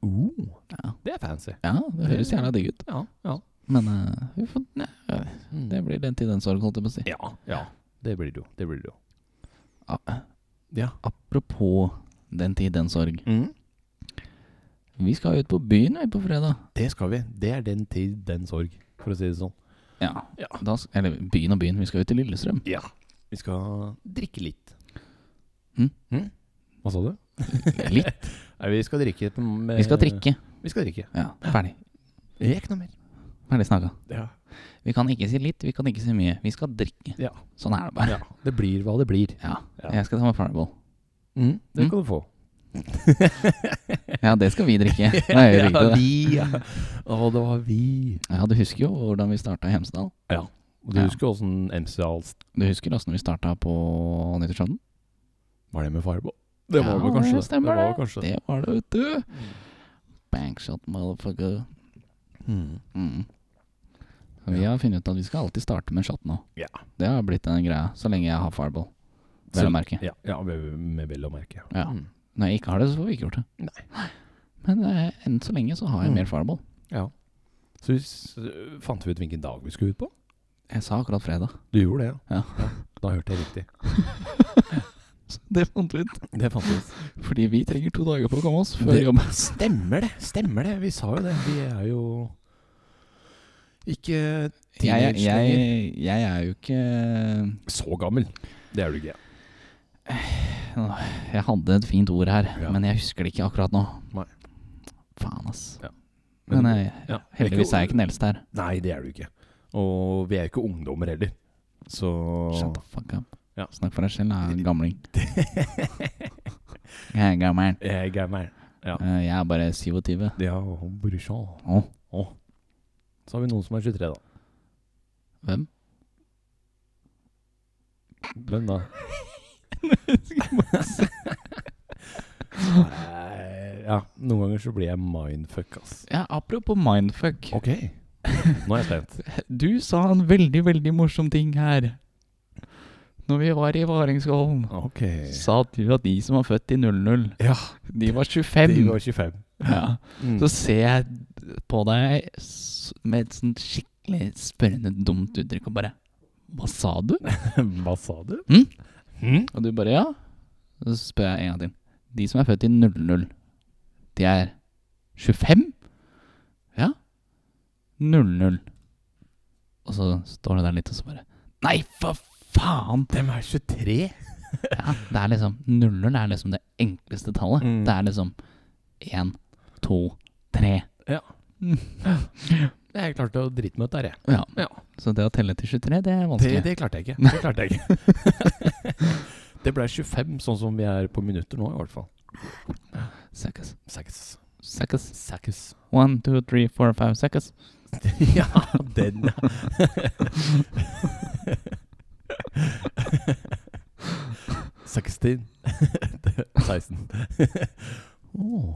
Speaker 2: Uh,
Speaker 1: Ja,
Speaker 2: det er fancy.
Speaker 1: ja det høres jævla digg ut.
Speaker 2: Ja, ja.
Speaker 1: Men eh, vi får, nei, det blir den til den sorg, holdt jeg på å si.
Speaker 2: ja, ja. Det blir det jo. Det blir det jo.
Speaker 1: A-
Speaker 2: Ja.
Speaker 1: Apropos den tid, den sorg. Vi skal ut på byen vi på fredag.
Speaker 2: Det skal vi. Det er den tid, den sorg, for å si det sånn.
Speaker 1: Ja.
Speaker 2: Ja.
Speaker 1: Da, sk- eller byen og byen, vi skal ut til *laughs* Lillestrøm.
Speaker 2: Ja. Vi skal drikke litt.
Speaker 1: Mm.
Speaker 2: Hva sa du?
Speaker 1: Litt.
Speaker 2: Nei, vi skal drikke med
Speaker 1: Vi skal drikke.
Speaker 2: Vi skal drikke.
Speaker 1: Ja, ferdig.
Speaker 2: Ikke noe mer.
Speaker 1: Ferdig snakka.
Speaker 2: Ja.
Speaker 1: Vi kan ikke si litt, vi kan ikke si mye. Vi skal drikke.
Speaker 2: Ja.
Speaker 1: Sånn er det bare.
Speaker 2: ja. Det blir hva det blir.
Speaker 1: Ja.
Speaker 2: Ja.
Speaker 1: Jeg skal ta med Fireball. Mm.
Speaker 2: Det skal du få.
Speaker 1: Ja, det skal vi *laughs* drikke. Nei, jeg gjør ikke det.
Speaker 2: vi, ja. Å, det var vi.
Speaker 1: Ja, du husker jo hvordan vi starta i Hemsedal.
Speaker 2: Og du
Speaker 1: Ja.
Speaker 2: husker åssen MC-Alst
Speaker 1: Du husker åssen vi starta på Nyttårsaften?
Speaker 2: Var det med Fireball? Det var vel kanskje
Speaker 1: det. Stemmer
Speaker 2: det. var kanskje det.
Speaker 1: Det var det, vet du. Bankshot, motherfucker.
Speaker 2: Mm.
Speaker 1: Mm. Vi har funnet ut at vi skal alltid starte med en shot nå.
Speaker 2: Ja.
Speaker 1: Det har blitt den greia, så lenge jeg har Fireball. Vel
Speaker 2: Så-
Speaker 1: å merke.
Speaker 2: Ja, ja, med med vel å merke.
Speaker 1: Ja.
Speaker 2: Mm.
Speaker 1: Når jeg ikke har det, så får vi ikke gjort det.
Speaker 2: Nei.
Speaker 1: Men eh, enn så lenge så har jeg
Speaker 2: Mm.
Speaker 1: mer Fireball.
Speaker 2: ja. Så vi s- fant vi ut hvilken dag vi skulle ut på?
Speaker 1: Jeg sa akkurat
Speaker 2: *laughs*
Speaker 1: fredag.
Speaker 2: Du gjorde det,
Speaker 1: Ja.
Speaker 2: Da hørte jeg riktig.
Speaker 1: *laughs* Det fant vi ut.
Speaker 2: Det fant vi ut.
Speaker 1: Fordi vi trenger to dager på å komme oss før
Speaker 2: Det- *laughs*
Speaker 1: jobb.
Speaker 2: Stemmer det! Stemmer det. Vi sa jo det. Vi er jo ikke
Speaker 1: Jeg, jeg,
Speaker 2: teenage lenger.
Speaker 1: jeg er jo ikke eh,
Speaker 2: Så gammel. Det er du ikke.
Speaker 1: Jeg hadde et fint ord her,
Speaker 2: Ja.
Speaker 1: men jeg husker det ikke akkurat nå.
Speaker 2: Nei.
Speaker 1: Faen, ass.
Speaker 2: Ja.
Speaker 1: Men, jeg,
Speaker 2: ja,
Speaker 1: heldigvis er jeg ikke den eldste her.
Speaker 2: Nei, det er du ikke. Og vi er jo ikke ungdommer heller. Så
Speaker 1: Shut the fuck up.
Speaker 2: Ja.
Speaker 1: Snakk for deg selv, jeg er en gamling. jeg er gammel.
Speaker 2: *laughs* Jeg er gammel. Ja.
Speaker 1: Eh, Jeg er bare 27.
Speaker 2: Ja, brorsan.
Speaker 1: Å,
Speaker 2: Så har vi noen som er 23, da.
Speaker 1: hvem?
Speaker 2: Hvem da? Nei, ja, noen ganger så blir jeg mindfuck, ass.
Speaker 1: Ja, apropos mindfuck.
Speaker 2: Ok. Nå er jeg spent.
Speaker 1: Du sa en veldig, veldig morsom ting her. Når vi var i Varingskollen,
Speaker 2: Ok.
Speaker 1: sa du at de som var født i 00,
Speaker 2: Ja,
Speaker 1: de var
Speaker 2: de
Speaker 1: 25.
Speaker 2: var 25.
Speaker 1: Ja.
Speaker 2: Mm.
Speaker 1: Så ser jeg på deg s- med et sånt skikkelig spørrende dumt uttrykk og bare Hva sa du?
Speaker 2: *laughs* Hva sa du?
Speaker 1: Mm?
Speaker 2: Mm?
Speaker 1: Og du bare ja. Og så spør jeg en gang til. De som er født i 00, de er 25? Ja. 0-0. Og så står det der litt, og så bare Nei, for faen!
Speaker 2: Dem er 23!
Speaker 1: Ja, det er liksom 0-0 er liksom det enkleste tallet.
Speaker 2: Mm.
Speaker 1: Det er liksom 1, 2, 3.
Speaker 2: Jeg klarte å drite meg ut der, jeg.
Speaker 1: Ja.
Speaker 2: Ja.
Speaker 1: Så det å telle til 23, det er
Speaker 2: Det,
Speaker 1: vanskelig.
Speaker 2: det klarte jeg ikke. Det klarte jeg ikke. *laughs* det ble 25, sånn som vi er på minutter nå, i hvert fall.
Speaker 1: Seconds.
Speaker 2: Seks.
Speaker 1: Seconds.
Speaker 2: Seks.
Speaker 1: One, two, three, four, five seconds.
Speaker 2: *laughs* ja, den, *laughs* ja. *laughs* Sextin. 16. oh,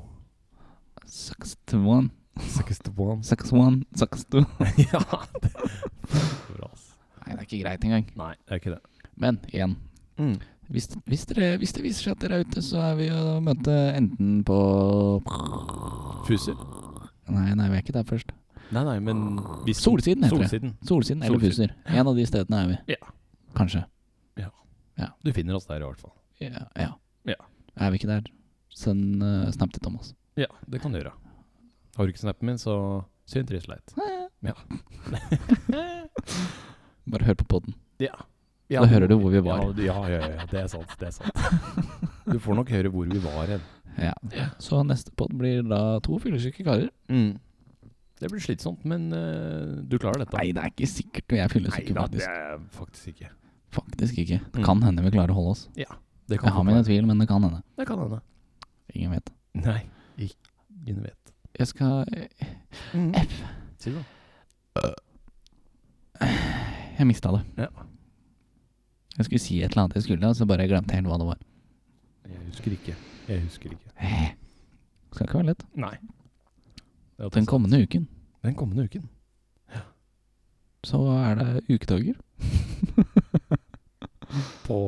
Speaker 1: Seconds to one,
Speaker 2: Sextuan.
Speaker 1: seconds one, seconds two.
Speaker 2: *laughs* ja. Det er bra, ass.
Speaker 1: Nei, det er ikke greit engang.
Speaker 2: Nei, det er ikke det.
Speaker 1: Men igjen,
Speaker 2: Mm.
Speaker 1: hvis, hvis, dere, hvis det viser seg at dere er ute, så er vi å møte enten på
Speaker 2: Fuser?
Speaker 1: Nei, nei, vi er ikke der først.
Speaker 2: Nei, nei, men hvis-
Speaker 1: Solsiden heter det.
Speaker 2: Solsiden.
Speaker 1: Solsiden eller
Speaker 2: Solsiden.
Speaker 1: Fuser. En av de stedene er vi.
Speaker 2: Ja.
Speaker 1: Kanskje.
Speaker 2: Du finner oss der, i hvert fall.
Speaker 1: Ja. ja.
Speaker 2: Ja.
Speaker 1: Er vi ikke der, send eh, snap til Thomas.
Speaker 2: Ja, det kan du gjøre. Har du ikke snappen min, så synd trist leit.
Speaker 1: *laughs* Bare hør på poden.
Speaker 2: Ja,
Speaker 1: Da hører du hvor vi var.
Speaker 2: Ja, du- ja, ja, ja, ja, det er sant. Det er *laughs* sant. Du får nok høre hvor vi var hen.
Speaker 1: Ja. Så neste pod blir da to fyllesyke karer.
Speaker 2: Mm. Det blir slitsomt, men eh, du klarer dette.
Speaker 1: Nei, det er ikke sikkert vi er fyllesyke,
Speaker 2: da, det
Speaker 1: faktisk.
Speaker 2: er faktisk ikke.
Speaker 1: Faktisk ikke. Det
Speaker 2: Mm.
Speaker 1: kan hende vi klarer å holde oss.
Speaker 2: Det
Speaker 1: Jeg har
Speaker 2: fort
Speaker 1: mine
Speaker 2: være.
Speaker 1: tvil, men det kan hende.
Speaker 2: Det kan hende.
Speaker 1: Ingen vet.
Speaker 2: Nei, ingen vet.
Speaker 1: Jeg skal F.
Speaker 2: Mm. Si det.
Speaker 1: Jeg mista det.
Speaker 2: Ja.
Speaker 1: Jeg skulle si et eller annet jeg skulle, og så bare glemte jeg helt hva det var.
Speaker 2: Jeg husker ikke. Jeg husker ikke.
Speaker 1: Skal ikke være lett.
Speaker 2: Nei. Det er
Speaker 1: Den
Speaker 2: sant.
Speaker 1: kommende uken
Speaker 2: Den kommende uken.
Speaker 1: så er det ukedager.
Speaker 2: På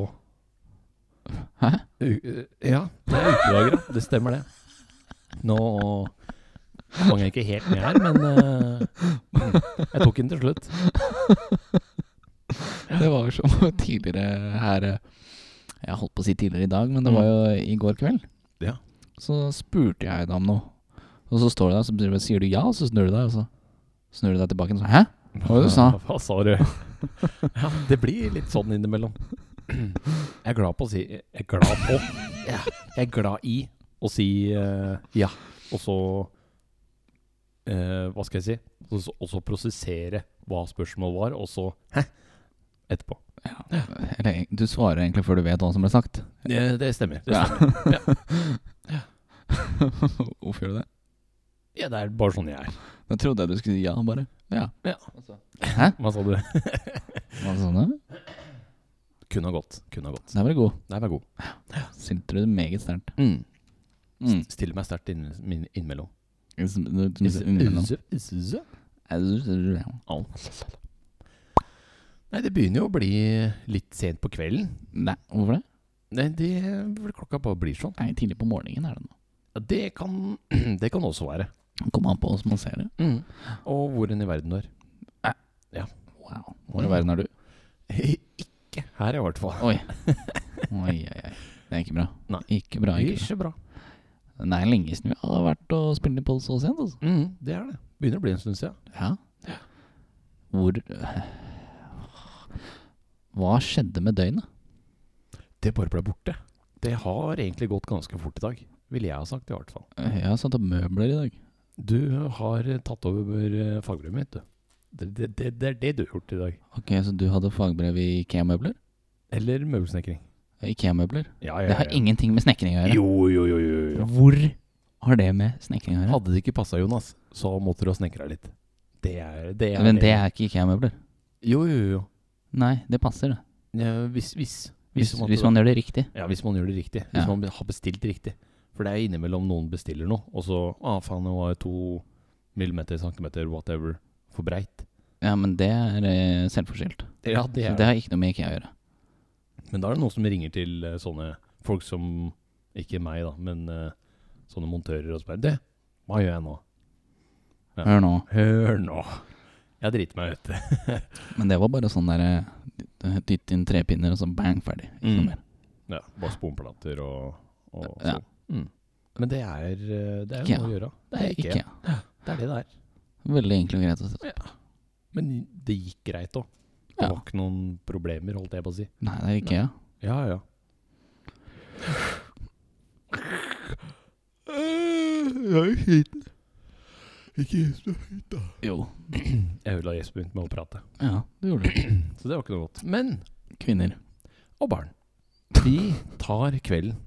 Speaker 1: Hæ?
Speaker 2: U eh, ja, det er ukedager, ja. Det stemmer, det. Nå hang jeg ikke helt med her, men *laughs* eh, jeg tok den til slutt.
Speaker 1: Det var jo som *laughs* tidligere her eh, Jeg holdt på å si tidligere i dag, men det var jo i går kveld.
Speaker 2: Ja.
Speaker 1: Så spurte jeg deg om noe, og så står du der, så bare sier du ja, og så snur du deg, og så snur du deg tilbake og så Hæ? Hva var det du sa?
Speaker 2: Hva sa du? Ja, det blir litt sånn innimellom. Jeg er glad på å si Jeg er glad på Ja, Jeg er glad i å si eh, ja, og så eh, Hva skal jeg si? Og så, og så prosessere hva spørsmålet var, og så Hæ? Etterpå.
Speaker 1: Ja. Eller du svarer egentlig før du vet hva som ble sagt.
Speaker 2: Det, det stemmer. Det,
Speaker 1: Ja.
Speaker 2: stemmer.
Speaker 1: *laughs* Hvorfor gjør du det?
Speaker 2: Ja, det er bare sånn jeg er.
Speaker 1: Da trodde jeg du skulle si ja, bare. Ja.
Speaker 2: Ja.
Speaker 1: Hæ?
Speaker 2: Hva sa du?
Speaker 1: Hva sa du?
Speaker 2: Kunne ha gått. Kunne ha gått.
Speaker 1: Der var du god.
Speaker 2: Nei, vær god.
Speaker 1: Stilte du meget sterkt.
Speaker 2: Mm. Stille meg sterkt inn, min- innimellom. Nei, det begynner jo å bli litt sent på kvelden.
Speaker 1: Nei, hvorfor det?
Speaker 2: Nei, det vel klokka bare blir sånn.
Speaker 1: Nei, tidlig på morgenen er det nå.
Speaker 2: Ja, Det kan, *clears throat* det kan også være.
Speaker 1: Kom an på hvordan man ser det.
Speaker 2: Mm. Og hvor enn i verden du er.
Speaker 1: Wow. Hvor i verden er du?
Speaker 2: Ikke her, i hvert fall.
Speaker 1: Oi. *laughs* Oi, oi, oi. Det er ikke bra.
Speaker 2: Nei.
Speaker 1: Ikke bra, ikke
Speaker 2: Ikke bra.
Speaker 1: bra. Det er lenge siden vi har vært og spilt på det så sent, altså.
Speaker 2: Mm, det er det. Begynner å bli en stund siden.
Speaker 1: Ja. Hvor Hva skjedde med døgnet?
Speaker 2: Det bare ble borte. Det har egentlig gått ganske fort i dag. Ville jeg ha sagt, i hvert fall.
Speaker 1: Jeg har satt opp møbler i dag.
Speaker 2: Du har tatt over eh, fagbrevet mitt, du. Det, det, det, det er det du har gjort i dag.
Speaker 1: Ok, Så du hadde fagbrev i Ikea-møbler?
Speaker 2: Eller møbelsnekring.
Speaker 1: Ikea-møbler?
Speaker 2: Ja,
Speaker 1: Det har ingenting med snekring å gjøre.
Speaker 2: Jo, jo, jo, jo, jo.
Speaker 1: Hvor har det med snekring å gjøre?
Speaker 2: Hadde det ikke passa, Jonas, så måtte du ha snekra litt. Det er det. Er,
Speaker 1: Men det er ikke IKEA-møbler.
Speaker 2: Jo, jo, jo.
Speaker 1: Nei, det passer, det.
Speaker 2: Ja, hvis, hvis.
Speaker 1: Hvis,
Speaker 2: man-
Speaker 1: hvis man gjør det riktig.
Speaker 2: Ja, hvis man gjør det riktig. Hvis
Speaker 1: Ja.
Speaker 2: man har bestilt riktig. For det er innimellom noen bestiller noe, og så ah, faen, det var to millimeter, centimeter, whatever, for breit.
Speaker 1: Ja, men det er eh, selvforskyldt.
Speaker 2: Ja,
Speaker 1: Så
Speaker 2: det er
Speaker 1: det
Speaker 2: det.
Speaker 1: har ikke noe med IKEA å gjøre.
Speaker 2: Men da er det noen som ringer til eh, sånne folk som Ikke meg, da, men eh, sånne montører og spør Det, hva gjør jeg nå? Ja.
Speaker 1: Hør nå.
Speaker 2: Hør nå. Jeg driter meg ut.
Speaker 1: Men det var bare sånn der eh, dytt- Dytt inn trepinner, og så bang, ferdig. Sånn Ikke
Speaker 2: Mm.
Speaker 1: noe mer.
Speaker 2: Ja, bare sponplater og, og
Speaker 1: Ja.
Speaker 2: sånn. Mm. Men det er, eh, det er jo
Speaker 1: Ikea.
Speaker 2: noe å gjøre.
Speaker 1: Det er IKEA.
Speaker 2: Det er det det er.
Speaker 1: Veldig enkelt og greit. å si.
Speaker 2: Men det gikk greit òg. Det
Speaker 1: Ja.
Speaker 2: var ikke noen problemer, holdt jeg på å si.
Speaker 1: Nei, det er Ikea.
Speaker 2: Ja, ja. Jeg er sliten. Ikke Jesper.
Speaker 1: Jo.
Speaker 2: Jeg ødela Jesper begynte med å prate,
Speaker 1: Ja, det gjorde du.
Speaker 2: så det var ikke noe godt. Men
Speaker 1: Kvinner.
Speaker 2: og *laughs* barn. De tar kvelden.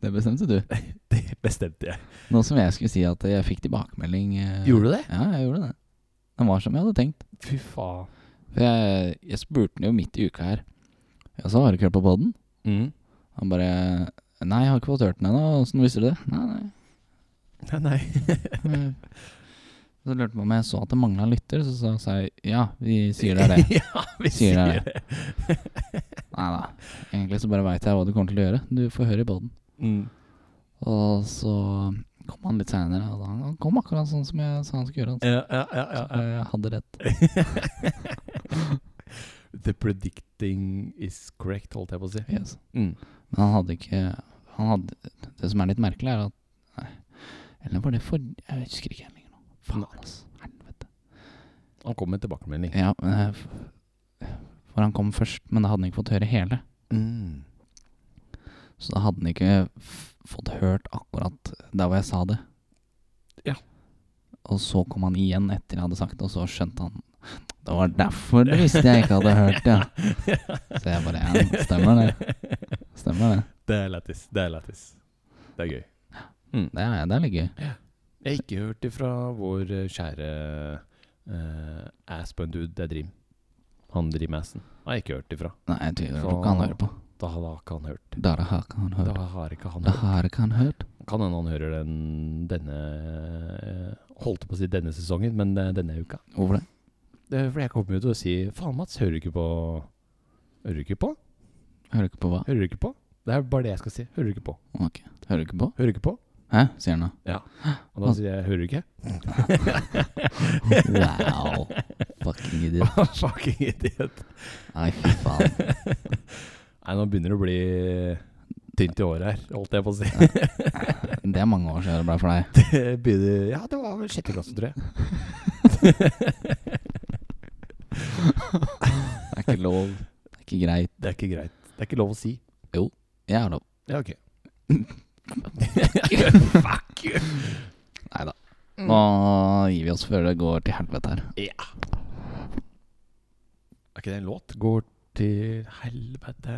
Speaker 1: Det bestemte du.
Speaker 2: Det bestemte jeg.
Speaker 1: Nå som jeg skulle si at jeg fikk tilbakemelding eh,
Speaker 2: Gjorde du det?
Speaker 1: Ja, jeg gjorde det. Den var som jeg hadde tenkt.
Speaker 2: Fy faen.
Speaker 1: For jeg, jeg spurte den jo midt i uka her. Ja, så har du ikke hørt på podden? Mm. Han bare Nei, jeg har ikke fått hørt den ennå. Åssen visste du det? Nei, nei.
Speaker 2: Nei, nei.
Speaker 1: Mm. *laughs* Så lurte jeg på om jeg så at det mangla lytter, så sa- sa jeg ja, vi sier det er
Speaker 2: *laughs*
Speaker 1: det.
Speaker 2: ja, vi
Speaker 1: Sier
Speaker 2: sier,
Speaker 1: det er
Speaker 2: det.
Speaker 1: Nei da. Egentlig så bare veit jeg hva du kommer til å gjøre. Du får høre i poden.
Speaker 2: Mm.
Speaker 1: Og så kom han litt seinere, og da- han kom akkurat sånn som jeg sa han skulle gjøre. Altså.
Speaker 2: Ja, ja, ja, ja,
Speaker 1: Så jeg hadde rett.
Speaker 2: ja. *laughs* The predicting is correct, holdt jeg på å si.
Speaker 1: Yes.
Speaker 2: Mm.
Speaker 1: Men han hadde ikke han hadde, Det som er litt merkelig, er at Nei. Eller var det for Jeg husker ikke helt lenger nå. Faen, altså. Helvete.
Speaker 2: Han kom med tilbakemelding.
Speaker 1: Ja, men jeg- for han kom først, men da hadde han ikke fått høre hele.
Speaker 2: *laughs* Mm.
Speaker 1: Så da hadde han ikke f fått hørt akkurat der hvor jeg sa det.
Speaker 2: Ja.
Speaker 1: Og så kom han igjen etter jeg hadde sagt det, og så skjønte han Det var derfor det visste jeg ikke hadde hørt, ja.
Speaker 2: *laughs*
Speaker 1: Så jeg bare Ja, stemmer det. Stemmer det.
Speaker 2: Det er lættis. Det er lættis. Det er gøy. Mm.
Speaker 1: Det er, det er litt gøy.
Speaker 2: Jeg har ikke hørt ifra vår eh, kjære eh, ass på en dude, det er Dream. Han Dream Assen. Har jeg ikke hørt ifra.
Speaker 1: Nei, jeg tviler på
Speaker 2: Så-
Speaker 1: hva han hører på.
Speaker 2: Da har da har ikke han hørt.
Speaker 1: Da har ikke han
Speaker 2: Da
Speaker 1: hørt.
Speaker 2: har ikke han
Speaker 1: Da
Speaker 2: hørt.
Speaker 1: har ikke han hørt.
Speaker 2: Kan hende han hører den denne eh, Holdt på å si denne sesongen, men eh, denne uka.
Speaker 1: Hvorfor det?
Speaker 2: Det er fordi jeg kommer jo til å si Faen, Mats, hører du ikke på Hører du ikke på?
Speaker 1: Hører ikke på hva?
Speaker 2: Hører du ikke på? Det er bare det jeg skal si. Hører du ikke på?
Speaker 1: Ok. Hører ikke på?
Speaker 2: Hører du ikke på?
Speaker 1: Hæ, sier han da.
Speaker 2: Og da sier jeg Hører du ikke?
Speaker 1: Wow.
Speaker 2: *laughs*
Speaker 1: Fucking idiot.
Speaker 2: Fucking idiot.
Speaker 1: Nei, fy faen.
Speaker 2: Nei, nå begynner det å bli tynt i håret her, holdt jeg på å si. *laughs*
Speaker 1: Det er mange år siden det ble for deg.
Speaker 2: Det begynner Ja, det var vel sjette klasse, tror jeg.
Speaker 1: Det er ikke lov. Det er ikke greit.
Speaker 2: Det er ikke greit. Det er ikke lov å si.
Speaker 1: Jeg har lov.
Speaker 2: Ja, ok.
Speaker 1: Nei da. Nå gir vi oss før det går til helvete her.
Speaker 2: Er ikke det en låt? Går til helvete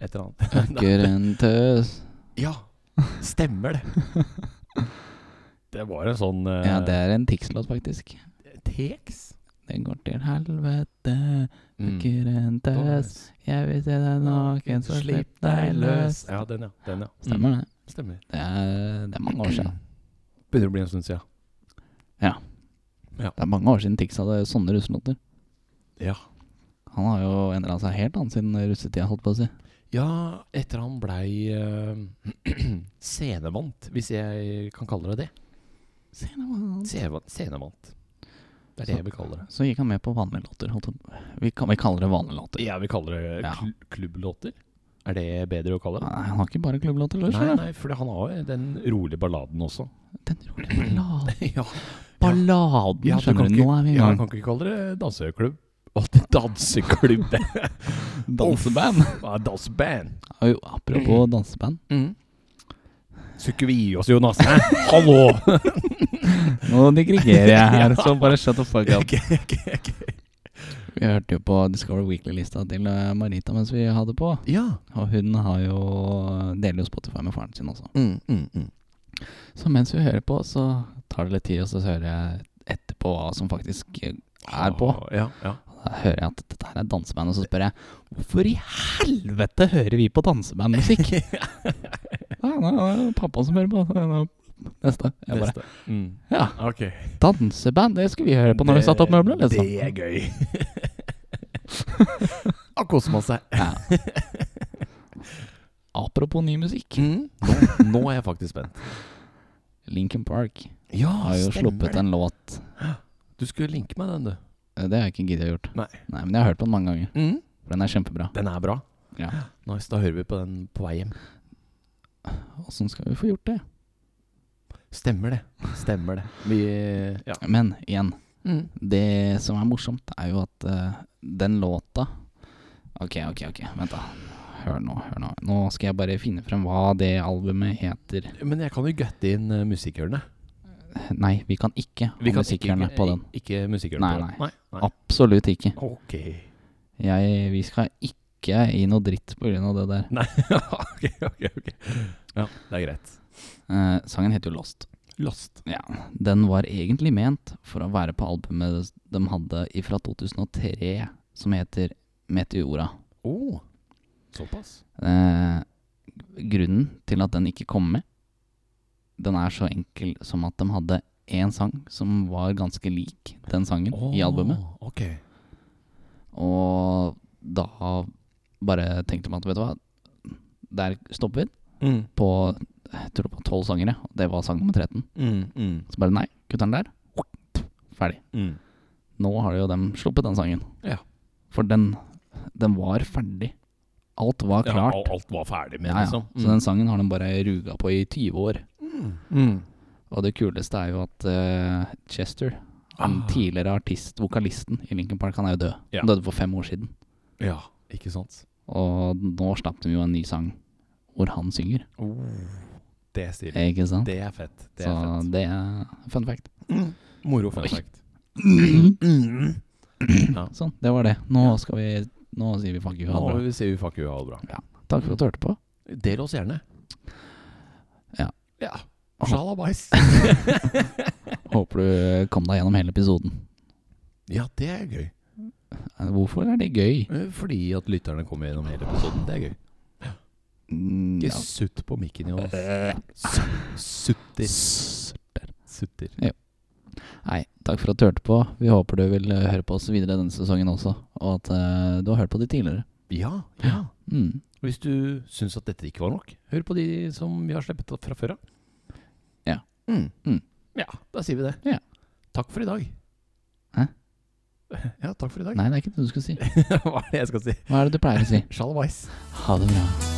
Speaker 2: Et eller annet.
Speaker 1: Økker en tøs
Speaker 2: *laughs* Ja, stemmer det. *laughs* Det var en sånn eh,
Speaker 1: Ja, det er en Tix-låt, faktisk.
Speaker 2: Tex.
Speaker 1: Den går til helvete.
Speaker 2: Mm.
Speaker 1: Økker en tøs
Speaker 2: Tøs.
Speaker 1: Jeg vil se deg naken, så slipp deg løs.
Speaker 2: Ja, den, ja. Den, ja. Mm,
Speaker 1: Stemmer det.
Speaker 2: stemmer.
Speaker 1: Det er, det er mange år siden.
Speaker 2: Begynner å bli en stund siden.
Speaker 1: Det er mange år siden Tix hadde sånne russelåter.
Speaker 2: Ja.
Speaker 1: Han har jo endra seg helt han siden russetida, holdt på å si.
Speaker 2: ja, etter han blei eh, *clears throat* scenevant, hvis jeg kan kalle det det.
Speaker 1: Se nå, han.
Speaker 2: Scenevant. scenevant. Det er det jeg vil kalle det.
Speaker 1: Så gikk han med på vanlige låter. Holdt på. Vi, kan, vi kaller det vanlige låter.
Speaker 2: Jeg vil kalle det
Speaker 1: Ja.
Speaker 2: kl klubblåter. Er det bedre å kalle det?
Speaker 1: Nei, han har ikke bare klubblåter. eller?
Speaker 2: Nei, nei, for han har jo den rolige balladen også.
Speaker 1: *laughs* Den rolige balladen.
Speaker 2: *clears throat* ja,
Speaker 1: Balladen,
Speaker 2: Ja, du
Speaker 1: skjønner
Speaker 2: kan
Speaker 1: du. Nå
Speaker 2: ikke-
Speaker 1: er vi i
Speaker 2: Ja,
Speaker 1: gang.
Speaker 2: kan ikke kalle det danseklubb. Alltid danseklubb.
Speaker 1: *laughs* Danseband.
Speaker 2: Ja, Danseband.
Speaker 1: Og jo, apropos danseband.
Speaker 2: Skulle ikke vi gi oss, Jonas? Hæ?
Speaker 1: *laughs*
Speaker 2: Hallo!
Speaker 1: Nå digregerer jeg
Speaker 2: *laughs*
Speaker 1: her, så bare shut the fuck up.
Speaker 2: Ok, ok, ok.
Speaker 1: Vi hørte jo på Discover Weekly-lista til eh, Marita mens vi hadde på.
Speaker 2: Ja.
Speaker 1: Og hun har jo deler jo Spotify med faren sin også. mm, Så mens vi hører på, så tar det litt tid, og så hører jeg etterpå hva som faktisk eh, er på.
Speaker 2: Ja,
Speaker 1: *laughs*
Speaker 2: ja.
Speaker 1: Og Da hører jeg at dette her er danseband, og så spør jeg hvorfor i helvete hører vi på
Speaker 2: *laughs*
Speaker 1: dansebandmusikk? Nei, nei, det er jo pappa som hører på. Nei, nei, Neste. Jeg bare,
Speaker 2: Neste. Mm.
Speaker 1: ja,
Speaker 2: Ok.
Speaker 1: danseband, det skulle vi høre på når vi satte opp møbler,
Speaker 2: Det-
Speaker 1: liksom.
Speaker 2: Det er
Speaker 1: *laughs*
Speaker 2: gøy. Da koser man seg.
Speaker 1: Apropos ny musikk.
Speaker 2: Nå er jeg faktisk spent.
Speaker 1: Linkin Park
Speaker 2: Ja,
Speaker 1: har jo sluppet en låt. Eh,
Speaker 2: Du skulle linke meg den, du.
Speaker 1: Det har jeg ikke giddet å gjort.
Speaker 2: Nei.
Speaker 1: Nei, men jeg har hørt på den mange ganger. For den er kjempebra.
Speaker 2: Den er bra.
Speaker 1: Ja.
Speaker 2: Nice, da hører vi på den på vei hjem.
Speaker 1: Åssen skal vi få gjort det?
Speaker 2: Stemmer det. Stemmer det. Vi Ja.
Speaker 1: Men igjen, det som er morsomt, er jo at eh, den låta Ok, ok, ok, vent da. Hør nå, hør nå. Nå skal jeg bare finne frem hva det albumet heter.
Speaker 2: Men jeg kan jo gutte inn eh, musikkhjørnet.
Speaker 1: Nei, vi kan ikke ha musikerne på den.
Speaker 2: Ikke musikkhjørnet
Speaker 1: Nei,
Speaker 2: på den. Nei, nei.
Speaker 1: Absolutt ikke.
Speaker 2: *laughs* Ok. *laughs*
Speaker 1: Jeg, vi skal ikke i noe dritt på grunn av det der.
Speaker 2: Nei, ok, ok. ok Ja, det er greit.
Speaker 1: Eh, sangen heter jo Lost.
Speaker 2: Lost.
Speaker 1: Ja, Den var egentlig ment for å være på albumet de hadde fra 2003, som heter Meteora.
Speaker 2: Oh. Såpass.
Speaker 1: Eh, grunnen til at den ikke kom med, den er så enkel som at de hadde én sang som var ganske lik den sangen i albumet.
Speaker 2: Ok.
Speaker 1: Og da bare tenkte man at vet du hva, der stopper vi
Speaker 2: Mm.
Speaker 1: på jeg tror det var tolv sanger, ja. Det var sang nummer 13.
Speaker 2: Mm, mm,
Speaker 1: Så bare nei, kutter den der. Ferdig.
Speaker 2: mm.
Speaker 1: Nå har jo dem sluppet den sangen.
Speaker 2: Ja.
Speaker 1: For den, den var ferdig. Alt var
Speaker 2: Ja,
Speaker 1: klart.
Speaker 2: al- alt var ferdig med,
Speaker 1: Ja, ja.
Speaker 2: liksom.
Speaker 1: Så den sangen har de bare ruga på i 20 år.
Speaker 2: Mm.
Speaker 1: Og det kuleste er jo at eh, Chester, den
Speaker 2: Ah.
Speaker 1: tidligere artist, vokalisten i Linkin Park, han er jo død.
Speaker 2: Ja.
Speaker 1: Han døde for fem år siden.
Speaker 2: Ja, ikke sant?
Speaker 1: Og nå slapp de jo en ny sang hvor han synger.
Speaker 2: Oh. Det er stilig.
Speaker 1: Ikke sant?
Speaker 2: Det er fett. Det
Speaker 1: Eh. Så
Speaker 2: er fett.
Speaker 1: det er fun
Speaker 2: *clears throat*
Speaker 1: fact.
Speaker 2: Moro fun
Speaker 1: Oi.
Speaker 2: fact. Mm-hmm.
Speaker 1: Sånn, det var det. Nå skal vi Nå sier vi fuck you. Ha
Speaker 2: Nå
Speaker 1: det bra.
Speaker 2: vi sier vi fuck you, ha det bra.
Speaker 1: Takk for at du hørte på.
Speaker 2: Del oss gjerne.
Speaker 1: Ja.
Speaker 2: ja.
Speaker 1: *laughs*
Speaker 2: Sjalabais.
Speaker 1: Håper du eh, kom deg gjennom hele episoden. Eh,
Speaker 2: Ja, det er gøy.
Speaker 1: Hvorfor er det gøy?
Speaker 2: Eh, Fordi at lytterne kommer gjennom hele episoden. Det er gøy.
Speaker 1: Mm,
Speaker 2: Ikke sutt på mikken, Jonas. Sutter. Sutter.
Speaker 1: Nei, takk for at du hørte på. Vi håper du vil eh, høre på oss videre denne sesongen også, og at eh, du har hørt på de tidligere.
Speaker 2: Ja, ja.
Speaker 1: Mm.
Speaker 2: Hvis du syns at dette ikke var nok, hør på de som vi har sluppet fra før av.
Speaker 1: Ja.
Speaker 2: Mm.
Speaker 1: Mm.
Speaker 2: Ja, da sier vi det.
Speaker 1: Ja.
Speaker 2: Takk for i dag.
Speaker 1: Hæ?
Speaker 2: Ja, takk for i dag.
Speaker 1: Nei, det er ikke det du skulle si.
Speaker 2: *laughs* Hva er det jeg skal si?
Speaker 1: Hva er det du pleier å si?
Speaker 2: Sjalabais.
Speaker 1: Ha det bra.